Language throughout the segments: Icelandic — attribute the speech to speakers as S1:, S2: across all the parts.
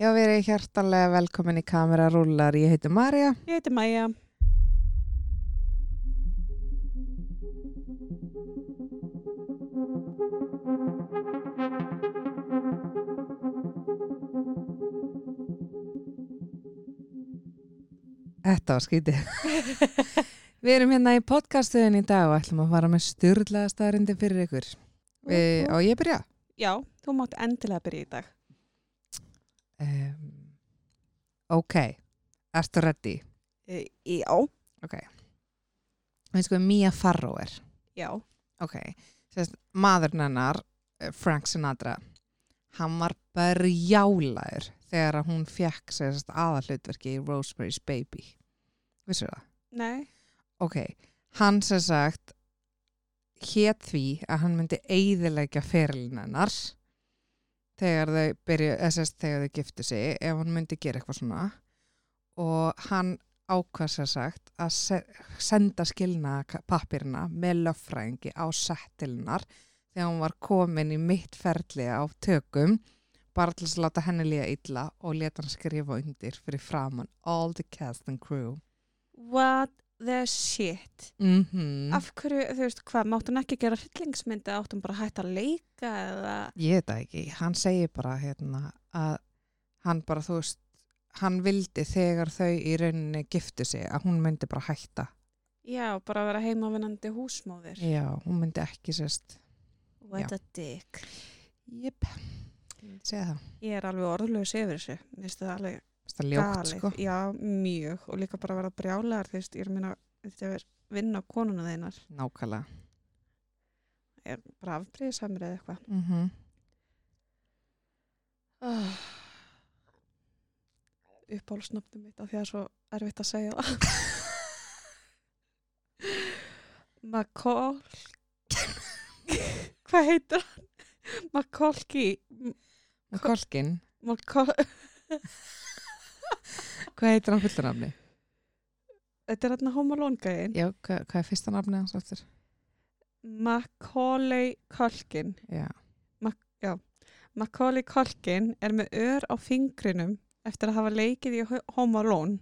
S1: Já, við erum hjartalega velkomin í kamerarúlar. Ég heiti Marja.
S2: Ég heiti Maja.
S1: Þetta var skítið. við erum hérna í podcastuðin í dag og ætlum að fara með styrlaða staðarindi fyrir ykkur. Við, á ég byrja.
S2: Já, þú mátt endilega byrja í dag.
S1: Um, ok, ertu ready?
S2: E, já.
S1: Ok. Við sko Mia Farrow er.
S2: Já.
S1: Ok. Sérst, maðurinn hennar, eh, Frank Sinatra, hann var berjálaður þegar að hún fekk sérst aðallutverki í Rosemary's Baby. Vissu það?
S2: Nei.
S1: ok, hann sem sagt hét því að hann myndi eyðilegja ferilin hennar þegar þau byrju, eða sérst þegar þau giftu sig ef hann myndi gera eitthvað svona og hann ákvað sem sagt að se senda skilna pappirina með löffræðingi á settilinnar þegar hún var komin í mitt ferli á tökum bara til að láta henni líða illa og leta hann skrifa undir fyrir framann all the cast and crew
S2: What the shit?
S1: mhm
S2: Af hverju, þú veist hvað, mátt hún ekki gera hryllingsmyndi, átt hún bara að hætta að leika eða...
S1: ég veit það ekki, hann segir bara hérna að hann bara þú veist, hann vildi þegar þau í rauninni giftu sig að hún myndi bara hætta
S2: Já, bara að vera heimavinnandi húsmóðir.
S1: já, hún myndi ekki sérst
S2: What a dick.
S1: jip, segja það
S2: Ég er alveg orðlaus yfir þessu. Mér finnst það alveg
S1: það er ljótt sko
S2: Já, mjög. Og líka bara að vera brjálæðar, þú veist, ég er að minna, þetta er vinna konuna þeinar.
S1: nákvæmlega
S2: Ég er bara afbríðisamur eða eitthvað.
S1: mm
S2: Oh. uppáhalsnafnum mitt af því að það er svo erfitt að segja það Makol hvað heitir hann? Makolki
S1: og Kolkin,
S2: Makol
S1: hvað heitir hann fullur nafni?
S2: þetta er hann að hóma lóngæðin
S1: já, hvað, hvað er fyrsta nafni hans aftur?
S2: Makolei Kolkin
S1: já,
S2: Macaulay Culkin er með ör á fingrinum eftir að hafa leikið í Ho- Home Alone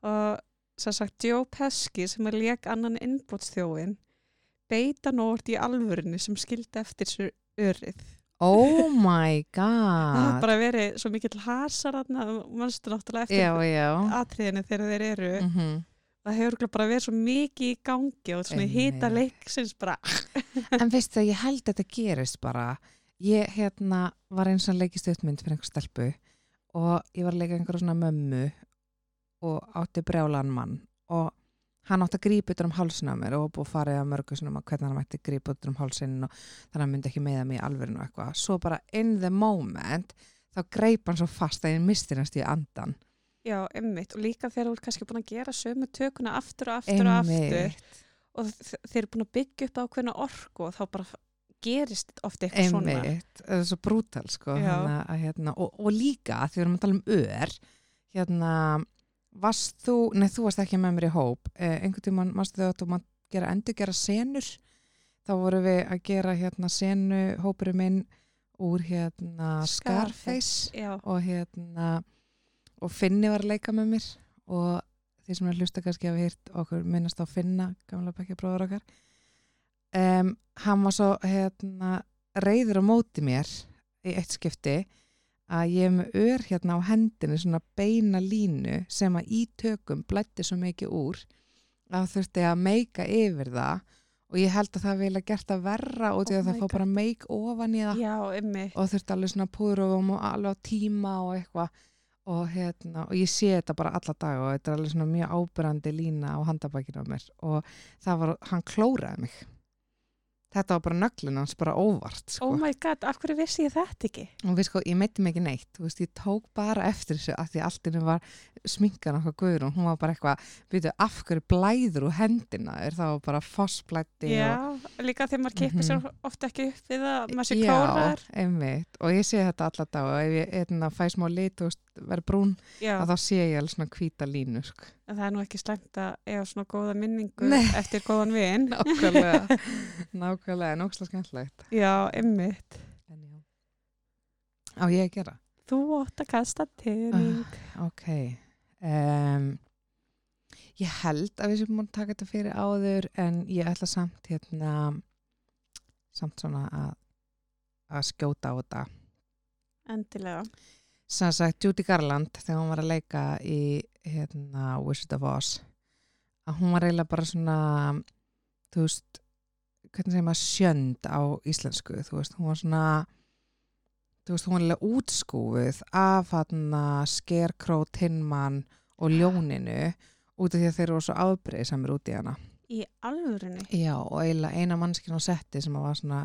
S2: og sem sagt Joe Pesci sem er leik annan innbótsþjófin beita nórt í alvörinu sem skildi eftir sér örið.
S1: oh my
S2: Það er
S1: god
S2: bara verið svo mikill hasar þarna, mannstu náttúrulega eftir
S1: já, já
S2: atriðinu þegar þeir eru
S1: mm
S2: það hefur örugglega bara verið svo mikið í gangi og svona
S1: Einmitt.
S2: hýta leiksins bara
S1: En veistu að ég held að þetta gerist bara. Ég hérna var eins og leikist uppmynd fyrir einhver stelpu og ég var að leika einhverja svona mömmu og átti brjálan mann og hann átti að grípa ytter um hálsinn á mér og var búið að fara að mörgu svona um að hvernig hann mætti grípa ytter um hálsinn og þannig að hann myndi ekki meða mig í alvörinu og eitthvað. Svo bara in the moment þá greip hann svo fast að ég misti næst í andan.
S2: já, emmitt, og líka þegar þú er kannski búin að gera sömu tökuna aftur og aftur og aftur
S1: Einmitt.
S2: og þ- þeir eru búin að byggja upp ákveðna orku og þá bara f- gerist ofta eitthvað svona
S1: einmitt, það er svo brútal sko,
S2: Já.
S1: hana, að, hérna, og, og líka því við erum að tala um ör hérna, varst þú nei, þú varst ekki með mér í hóp eh, einhvern tímann, varstu þau að þú mátt gera endurgera senur, þá vorum við að gera hérna senu, hópurinn minn úr hérna Scarface
S2: já,
S1: og hérna og Finni var að leika með mér og því sem er að hlusta kannski hafa hýrt okkur minnast á Finna, gamla bekkjabróður okkar um, hann var svo hérna reyður á móti mér í eitt skipti að ég er með ör hérna á hendinu svona beina línu sem að í tökum blætti svo mikið úr að þurfti að meika yfir það og ég held að það vilja gert það verra og því
S2: Oh
S1: að
S2: my
S1: það fór bara meik ofan í það
S2: já, emmi
S1: og þurfti alveg svona púðrofum og alveg á tíma og eitthvað og, hérna, og ég sé þetta bara alla dag og þetta er alveg svona mjög ábyrrandi lína á handabækinu á mér og það var, hann klóraði mig þetta var bara nöglun hans bara óvart sko.
S2: oh my god, af hverju vissi ég þetta ekki
S1: og við sko, ég meitti mig ekki neitt þú veist, ég tók bara eftir þessu að því allt innum var sminkan okkar guður og hún var bara eitthvað, veitu, af hverju blæður úr hendina er það var bara fossblætti og
S2: já, líka þegar maður kippir sér ofta ekki upp við að maður sé klórar
S1: Mhm. Já, einmitt, og ég sé þetta alla dag og ef ég hérna, fæ smá lit og verð brún,
S2: já,
S1: að þá sé ég alveg svona hvíta línu, sko.
S2: en það er nú ekki slæmt að eiga svona góða minningu
S1: Nei.
S2: eftir góðan vin
S1: Nákvæmlega, nákvæmlega, en ókslega skemmtilegt.
S2: já, emmitt
S1: En já. Á ég að gera?
S2: Þú átt að kasta tening.
S1: Ok. Um, ég held að við sem múin að taka þetta fyrir áður en ég ætla samt hérna samt svona að, að skjóta á þetta. Ah.
S2: Endilega.
S1: Sann sagt Judy Garland þegar hún var að leika í hérna, Wizard of Oz að hún var eiginlega bara svona þú veist hvernig segir maður sjönd á íslensku þú veist, hún var svona þú veist, hún var eiginlega útskúfuð af hann skerkró tinnmann og ljóninu út af því að þeir eru svo afbreið samir út í hana
S2: Í alvörinni.
S1: Já, og eiginlega eina mannskinn á setti sem að var svona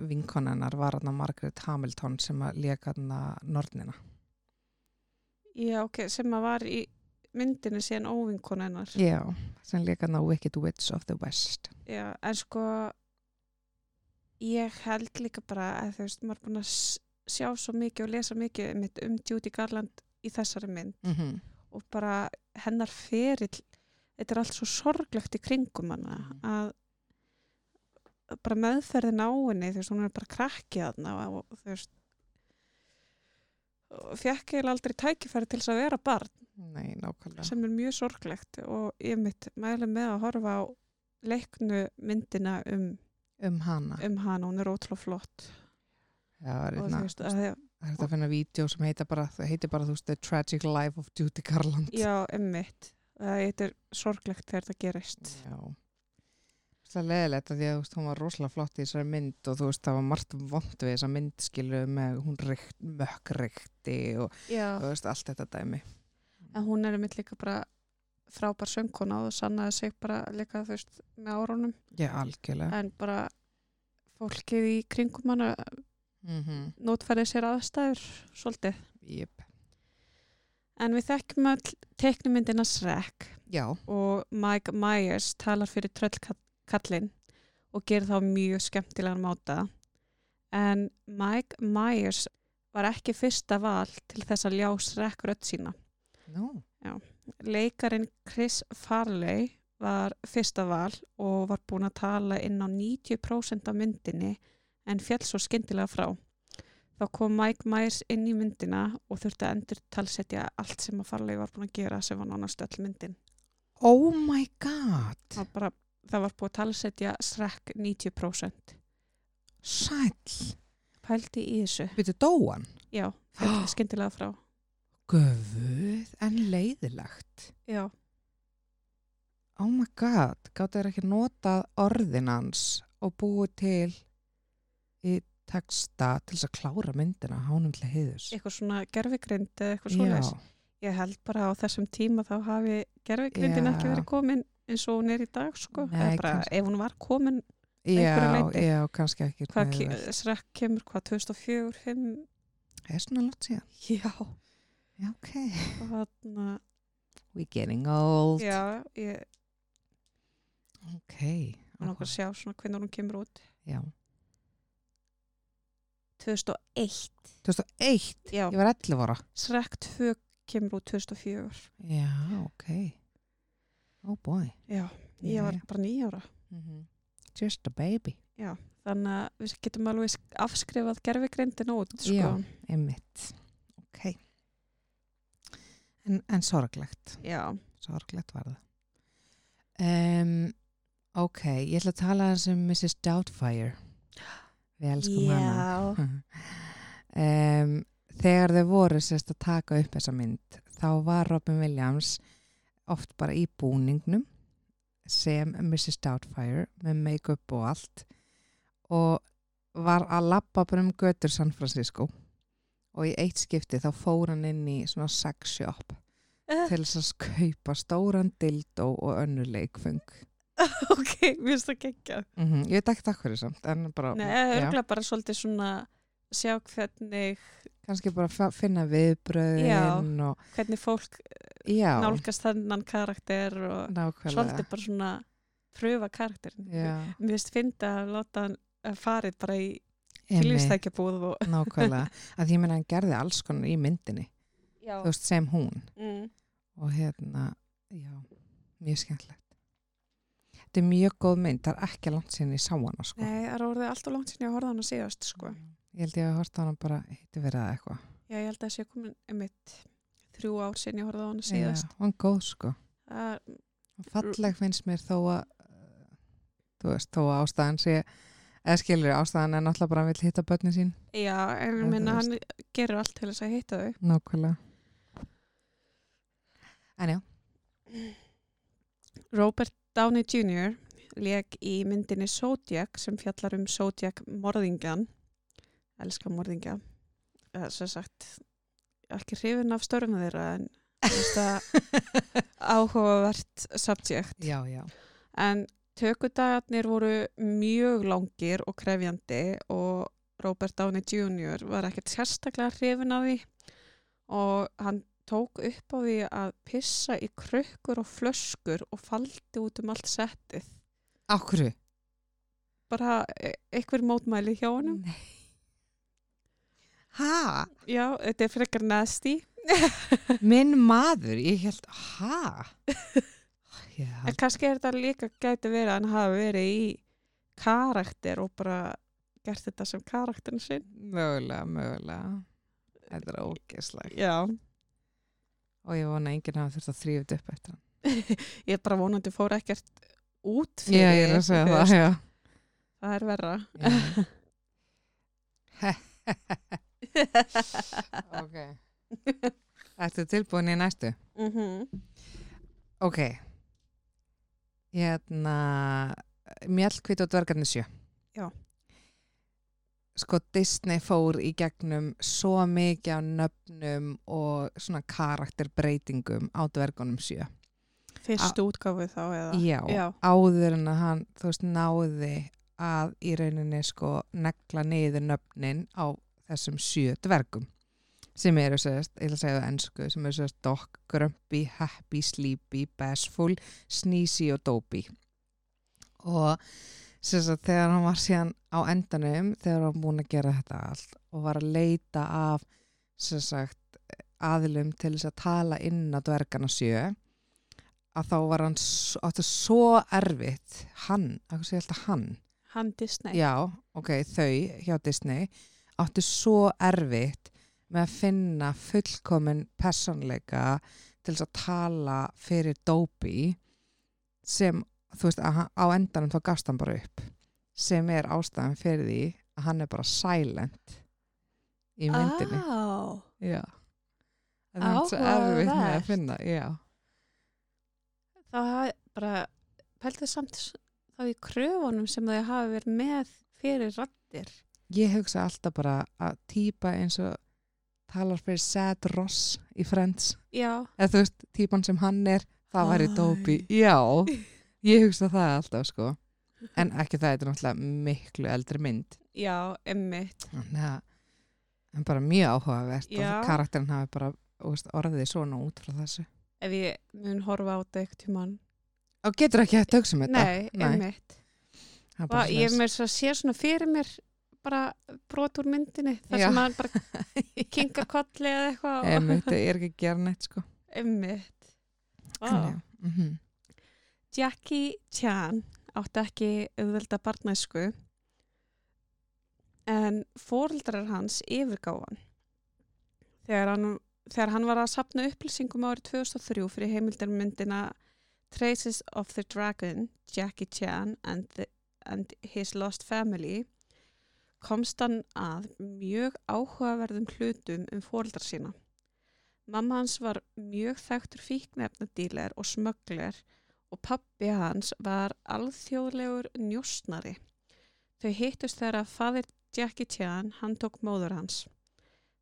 S1: vinkonennar var hann Margaret Hamilton sem að leka hann nornina
S2: Já, ok, sem að var í myndinu síðan óvinkonennar.
S1: Já, sem líka ná Wicked Witch of the West.
S2: Já, en sko ég held líka bara að þú veist, maður er búin að s- sjá svo mikið og lesa mikið einmitt um Judy Garland í þessari mynd
S1: Mm
S2: og bara hennar ferill þetta er allt svo sorglegt í kringum hana
S1: Mhm.
S2: að að bara meðferðin á henni þú veist, hún er bara krakkið þarna og, og þú veist og fekk eiginlega aldrei tækifæri til þess að vera barn
S1: Nei, nákvæmlega.
S2: sem er mjög sorglegt og ég mitt mæli með að horfa á leiknu myndina um,
S1: Um hana.
S2: um hana, hún er ótrúlega flott
S1: Já, það er
S2: og þú
S1: hérna-
S2: veist, að,
S1: það
S2: því-
S1: er þetta að finna vídeo sem heitir bara, það heitir bara, þú veist, The Tragic Life of Judy Garland.
S2: já, emmitt það þetta er sorglegt þegar það gerist
S1: Já. Það er leðilegt að því að þú veist, hún var rosalega flott í þessari mynd og þú veist, það var margt vond við þessa mynd skilu með hún reykt, mökk reykti og
S2: já,
S1: þú veist, allt þetta dæmi.
S2: en hún er einmitt líka bara frábær söngkona og sannaði sig bara líka þú veist með árunum
S1: Já, algjörlega.
S2: en bara fólkið í kringum hana
S1: Mm -hmm.
S2: notfærið sér aðstæður svolítið
S1: Jep.
S2: en við þekkjum all teiknumyndina Shrek
S1: Já.
S2: og Mike Myers talar fyrir tröllkallin og gerir þá mjög skemmtilegan máta en Mike Myers var ekki fyrsta val til þess að ljá Shrek rödd sína
S1: Nú.
S2: Leikarin Chris Farley var fyrsta val og var búin að tala inn á 90% af myndinni en fjall svo skyndilega frá. Þá kom Mike Myers inn í myndina og þurfti að endur talsetja allt sem að Farley var búin að gera sem var nánast öll myndin.
S1: Oh my god.
S2: Það, var bara, það var búin að talsetja srekk 90%.
S1: Sæll.
S2: Pældi í þessu.
S1: Byrju dóan.
S2: Já, fjall skyndilega frá.
S1: Guð, en leiðilegt.
S2: Já.
S1: Oh my god, gáttu þér ekki notað orðin hans og búið til í texta til þess að klára myndina hánum til heiðus.
S2: Eitthvað svona gerfigrind eða eitthvað svona. Ég held bara á þessum tíma þá hafi gerfigrindin
S1: Já.
S2: ekki verið komin eins og hún er í dag sko.
S1: Nei,
S2: Nei, bara,
S1: kannski.
S2: ef hún var komin, einhverju
S1: já,
S2: leyti.
S1: já, kannski ekki.
S2: hvað
S1: með
S2: ke
S1: vel.
S2: srekk kemur, hvað, 2004, 2005?
S1: Það er svona langt síðan.
S2: Já.
S1: Já, ok.
S2: Þarna,
S1: We're getting old.
S2: já, ég
S1: Ok.
S2: var nokkuð að sjá svona hvernig hún kemur út.
S1: Já.
S2: 2001.
S1: 2001,
S2: Já,
S1: ég var 11 ára.
S2: srekk 2 kemur út 2004.
S1: Já, ok. Oh boy.
S2: Já, ég var
S1: Jæja.
S2: bara nýjára.
S1: Mhm. Just a baby.
S2: Þannig að við getum alveg sk- afskrifað gerfigrindin út sko.
S1: Já. Einmitt. Ok. En, en sorglegt.
S2: Já.
S1: Sorglegt var það. Um, ok, ég ætla að tala aðeins um Mrs. Doubtfire. Við elskum
S2: Já.
S1: hana. um, Mhm. þegar þau voru sérst að taka upp þessa mynd, þá var Robin Williams oft bara í búningnum sem Mrs. Doubtfire með make-up og allt og var að lappa bara um götur San Francisco og í eitt skipti þá fór hann inn í svona sex shop
S2: Eh,
S1: til þess að kaupa stóran dildó og önnur leikfung.
S2: ok, mér finnst það geggjað.
S1: Mm Ég veit ekki takk fyrir samt, en bara,
S2: Nei,
S1: já,
S2: örgulega bara svolítið svona sjá hvernig,
S1: kannski bara fa- finna viðbröðin og
S2: hvernig fólk
S1: já,
S2: nálgast þennan karakter og
S1: nákvæmlega.
S2: svolítið bara svona pröfa karakterin.
S1: Já,
S2: Mér finnst fyndi að láta hann að farið bara í
S1: einmitt,
S2: tilvístækjabúð og
S1: nákvæmlega. Að ég meina hann gerði alls konar í myndinni,
S2: já.
S1: þú veist, sem hún.
S2: Mm.
S1: Og hérna, já, mjög skemmtilegt. Þetta er mjög góð mynd, það er ekki langt síðan ég sá hana, sko. Mm.
S2: Nei, það er orðið allt og langt sinni að horfa hann að síðast, sko.
S1: Ég held ég að horta hana bara, heitir verið að eitthvað.
S2: Já, ég held að það sé komin einmitt þrjú ár sinni ég horfði á hana
S1: Já,
S2: síðast.
S1: hún er góð sko.
S2: Það
S1: Og Falleg finnst mér þó að, uh, þú veist, þó að ástæðan sé, eða skilur ástæðan er náttúrulega bara að hann vil hitta börnin sín.
S2: Já, en
S1: Já,
S2: ég
S1: þú
S2: minna hann gerur allt til þess að hitta þau.
S1: Nákvæmlega. En já,
S2: Robert Downey Jr. leik í myndinni Zodiac sem fjallar um Zodiac morðingjan elska morðingja eða sem sagt ekki hrifin af störfum þeirra en veist að áhugavert subject
S1: já, já.
S2: en tökudagarnir voru mjög langir og krefjandi og Robert Downey Jr. var ekkert sérstaklega hrifin af því og hann tók upp á því að pissa í krukkur og flöskur og faldi út um allt settið
S1: Ákru?
S2: bara e- einhver mótmæli hjá honum
S1: Nei. Hæ?
S2: já, þetta er frekar nasty
S1: Minn maður? Ég held, hæ? Ég
S2: en
S1: held,
S2: kannski er þetta líka gæti verið að hann hafi verið í karakter og bara gert þetta sem karakterin sinn
S1: mögulega, mögulega. Þetta er ógeðslega.
S2: já,
S1: Og ég vona að enginn hafa þurft að þrýfa þetta upp eftir hann.
S2: ég er bara vonandi fór ekkert út
S1: Já, ég
S2: fyrir
S1: er að segja
S2: þú
S1: það,
S2: veist,
S1: já.
S2: það er verra
S1: ok. Ertu tilbúin í næstu?
S2: mm
S1: Ok. Hérna, mjölkvít og dvergarnir sjö.
S2: Já.
S1: Sko Disney fór í gegnum svo mikið á nöfnum og svona karakterbreytingum á dvergunum sjö.
S2: fyrstu útgáfu þá eða
S1: Já,
S2: Já.
S1: áður en að hann þú veist náði að í rauninni sko negla niður nöfnin á þessum sjö dvergum sem eru sérst, ég ætla að segja það á ensku sem eru sérst Doc, Grumpy, Happy, Sleepy, Bashful, Sneezy og Dopey og sérst að þegar hann var síðan á endanum þegar hann var búin að gera þetta allt og var að leita af sérst sagt aðilum til þess að tala inn á dvergana sjö að þá var hann s- átti svo erfitt hann, að hvað sé alltaf hann
S2: hann Disney
S1: já, ok, þau hjá Disney átti svo erfitt með að finna fullkomin personleika til þess að tala fyrir Dobby sem, þú veist, að, hann- á endanum þá gafst hann bara upp sem er ástæðan fyrir því að hann er bara silent í
S2: Ah.
S1: myndinni
S2: Á,
S1: já Það er svo erfitt með
S2: Áhugavert.
S1: að finna, já.
S2: það er bara pæltið samt s- þá í kröfunum sem þau hafi verið með fyrir rattir
S1: ég hugsa alltaf bara að týpa eins og talar fyrir Sad Ross í Friends
S2: já,
S1: eða þú veist, týpan sem hann er það væri
S2: Æ.
S1: Dobby, já ég hugsa það alltaf sko en ekki það, þetta er náttúrulega miklu eldri mynd
S2: já, emmitt
S1: þannig að en bara mjög áhugavert
S2: Já.
S1: og karakterin hafi bara þú veist, orðið svona út frá þessu
S2: ef ég mun horfa á þetta ekkert tímann
S1: og getur ekki hægt að hugsa um þetta
S2: nei, emmitt
S1: það er bara
S2: og ég
S1: svoleiðis.
S2: mér svo sé svona fyrir mér bara brot úr myndinni þar
S1: Já.
S2: sem maður bara kinkar kolli eða eitthvað og-
S1: Einmitt, ég er ekki að gera neitt sko
S2: einmitt
S1: Þannig
S2: Vá.
S1: að, mhm.
S2: Jackie Chan átti ekki auðvelda barnæsku en fóreldrar hans yfirgáðan þegar hann, þegar hann var að sapna upplýsingum árið 2003 fyrir heimildarmyndina Traces of the Dragon, Jackie Chan and, the, and His Lost Family komst hann að mjög áhugaverðum hlutum um fóreldrar sína. Mamma hans var mjög þekktur fíknefnadílar og smöggler og pappi hans var alþjóðlegur njósnari. Þau hittust þegar að fadir Jackie Chan, hann tók móður hans.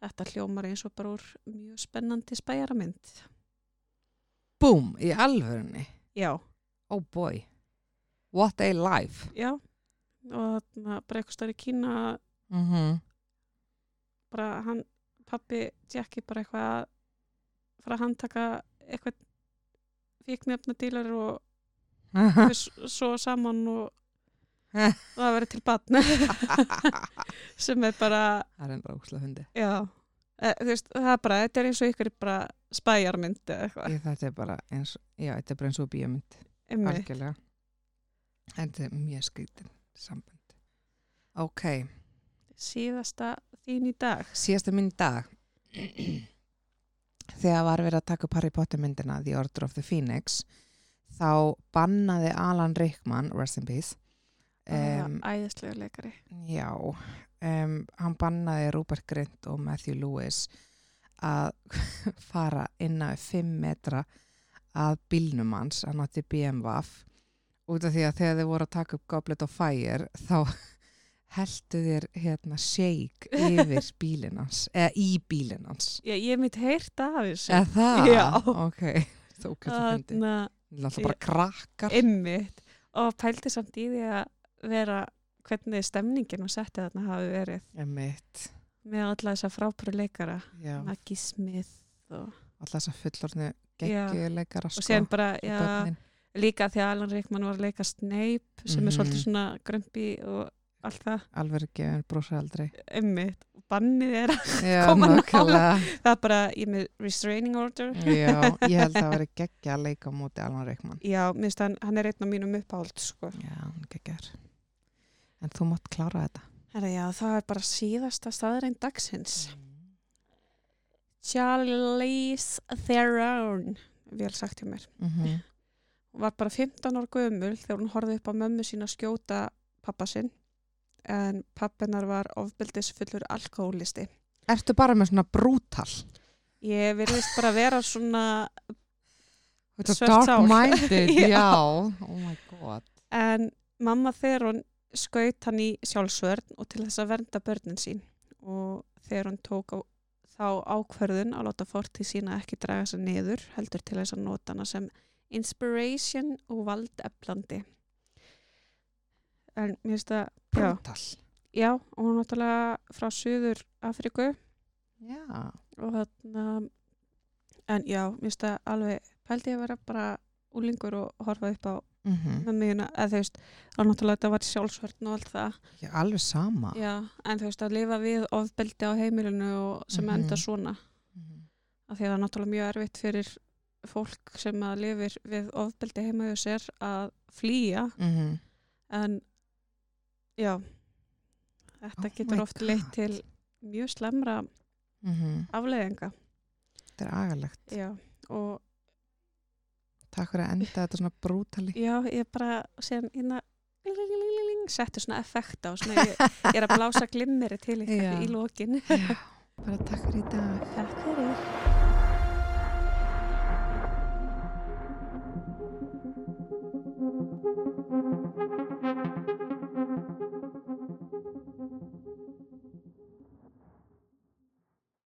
S2: Þetta hljómar eins og bara úr mjög spennandi spæjaramynd.
S1: Búm, í alvörunni
S2: Já,
S1: oh boy, what a life
S2: já. Og þarna bara eitthvað stöður í Kína,
S1: mhm
S2: bara hann, pappi Jackie bara eitthvað að fara að handtaka eitthvað fíknefna dílar og þau s- svo saman og
S1: Ha.
S2: það verið til batna
S1: það
S2: sem er bara
S1: er enda ógslag hundi
S2: Já, e, þú veist, það er bara, þetta er eins og ykkur bara spæjarmynd eða eitthvað,
S1: ég, þetta er bara eins já, þetta er bara eins og bíómynd
S2: emmi.
S1: algjörlega þetta er mjög skrítin samband ok,
S2: Síðasta þín í dag.
S1: síðasta minn dag þegar var verið að taka upp Harry Potter myndina The Order of the Phoenix þá bannaði Alan Rickman rest in peace um,
S2: Æðislega leikari.
S1: Já, um, hann bannaði Rupert Grint og Matthew Lewis að fara innan við 5 metra að bílnum hans, hann átti BMW út af því að þegar þið voru að taka upp Goblet of Fire þá heldu þér hérna shake yfir bílinn hans eða í bílinn hans
S2: Já, ég hef mitt heyrt af þessu.
S1: eða það?
S2: Já.
S1: ok, þú getur fundið
S2: Þarna,
S1: alltaf bara krakkar
S2: einmitt. Og pældi samt í því að vera hvernig stemningin og setti þarna hafi verið
S1: Einmitt,
S2: með alla þessa frábæru leikara.
S1: já,
S2: Maggie Smith og,
S1: alltaf þess að fullorðnu
S2: Já.
S1: geggjuleikara
S2: og
S1: sko,
S2: séðan bara, já,
S1: börnin.
S2: líka því að Alan Rickman var að leika Snape sem er
S1: Mhm.
S2: svolítið svona grömpi og allt það,
S1: alveg gefin brosa aldrei
S2: einmitt og bannið er að
S1: já,
S2: Kom hann
S1: nákvæmlega.
S2: það er bara ég er með restraining order
S1: já, ég held að það veri geggja að leika á móti Alan Reykman
S2: já, minnst hann, hann er einn af mínum uppáhald sko.
S1: já, hann geggjar en þú mátt klára þetta
S2: Herra, já, það er bara síðasta staðrein dagsins Charlize Theron vel sagt hjá mér
S1: mm -hmm.
S2: hún var bara 15 ára gömul þegar hún horfði upp á mömmu sína skjóta pappa sinn en pappinar var ofbeldisfullur alkohólisti
S1: ertu bara með svona brútal
S2: ég virðist bara vera svona Svört sál.
S1: dark minded,
S2: Já.
S1: já oh my god
S2: en mamma þegar hún skaut hann í sjálfsvörn og til þess að vernda börnin sín og þegar hún tók á, þá ákverðun að láta fortíð sína ekki draga sig niður heldur til þess að nota hana sem inspiration og valdeflandi en mér finnst að já,
S1: brútal
S2: já, og hún er náttúrulega frá Suður Afriku
S1: já,
S2: og þarna en já, mér finnst að alveg pældi ég að vera bara úlingur og horfa upp á
S1: mm
S2: með mig að þú veist, að náttúrulega þetta var sjálfsvörn og allt það,
S1: já alveg sama
S2: já, en þú veist að lifa við ofbeldi á heimilinu og sem
S1: Mhm.
S2: enda svona,
S1: Mhm.
S2: af því að það er náttúrulega mjög erfitt fyrir fólk sem að lifir við ofbeldi heima hjá sér að flýja,
S1: Mhm.
S2: en já þetta
S1: Oh my
S2: getur oft leitt
S1: God.
S2: til mjög slemra
S1: Mhm.
S2: afleðinga,
S1: þetta er agalegt
S2: já og
S1: takk fyrir að enda þetta svona brútali
S2: já, ég bara síðan hérna setti svona effekt á, svona ég, ég er að blása glimmeri til
S1: Já.
S2: ykkur í lokin
S1: bara takk fyrir í dag
S2: Takk fyrir.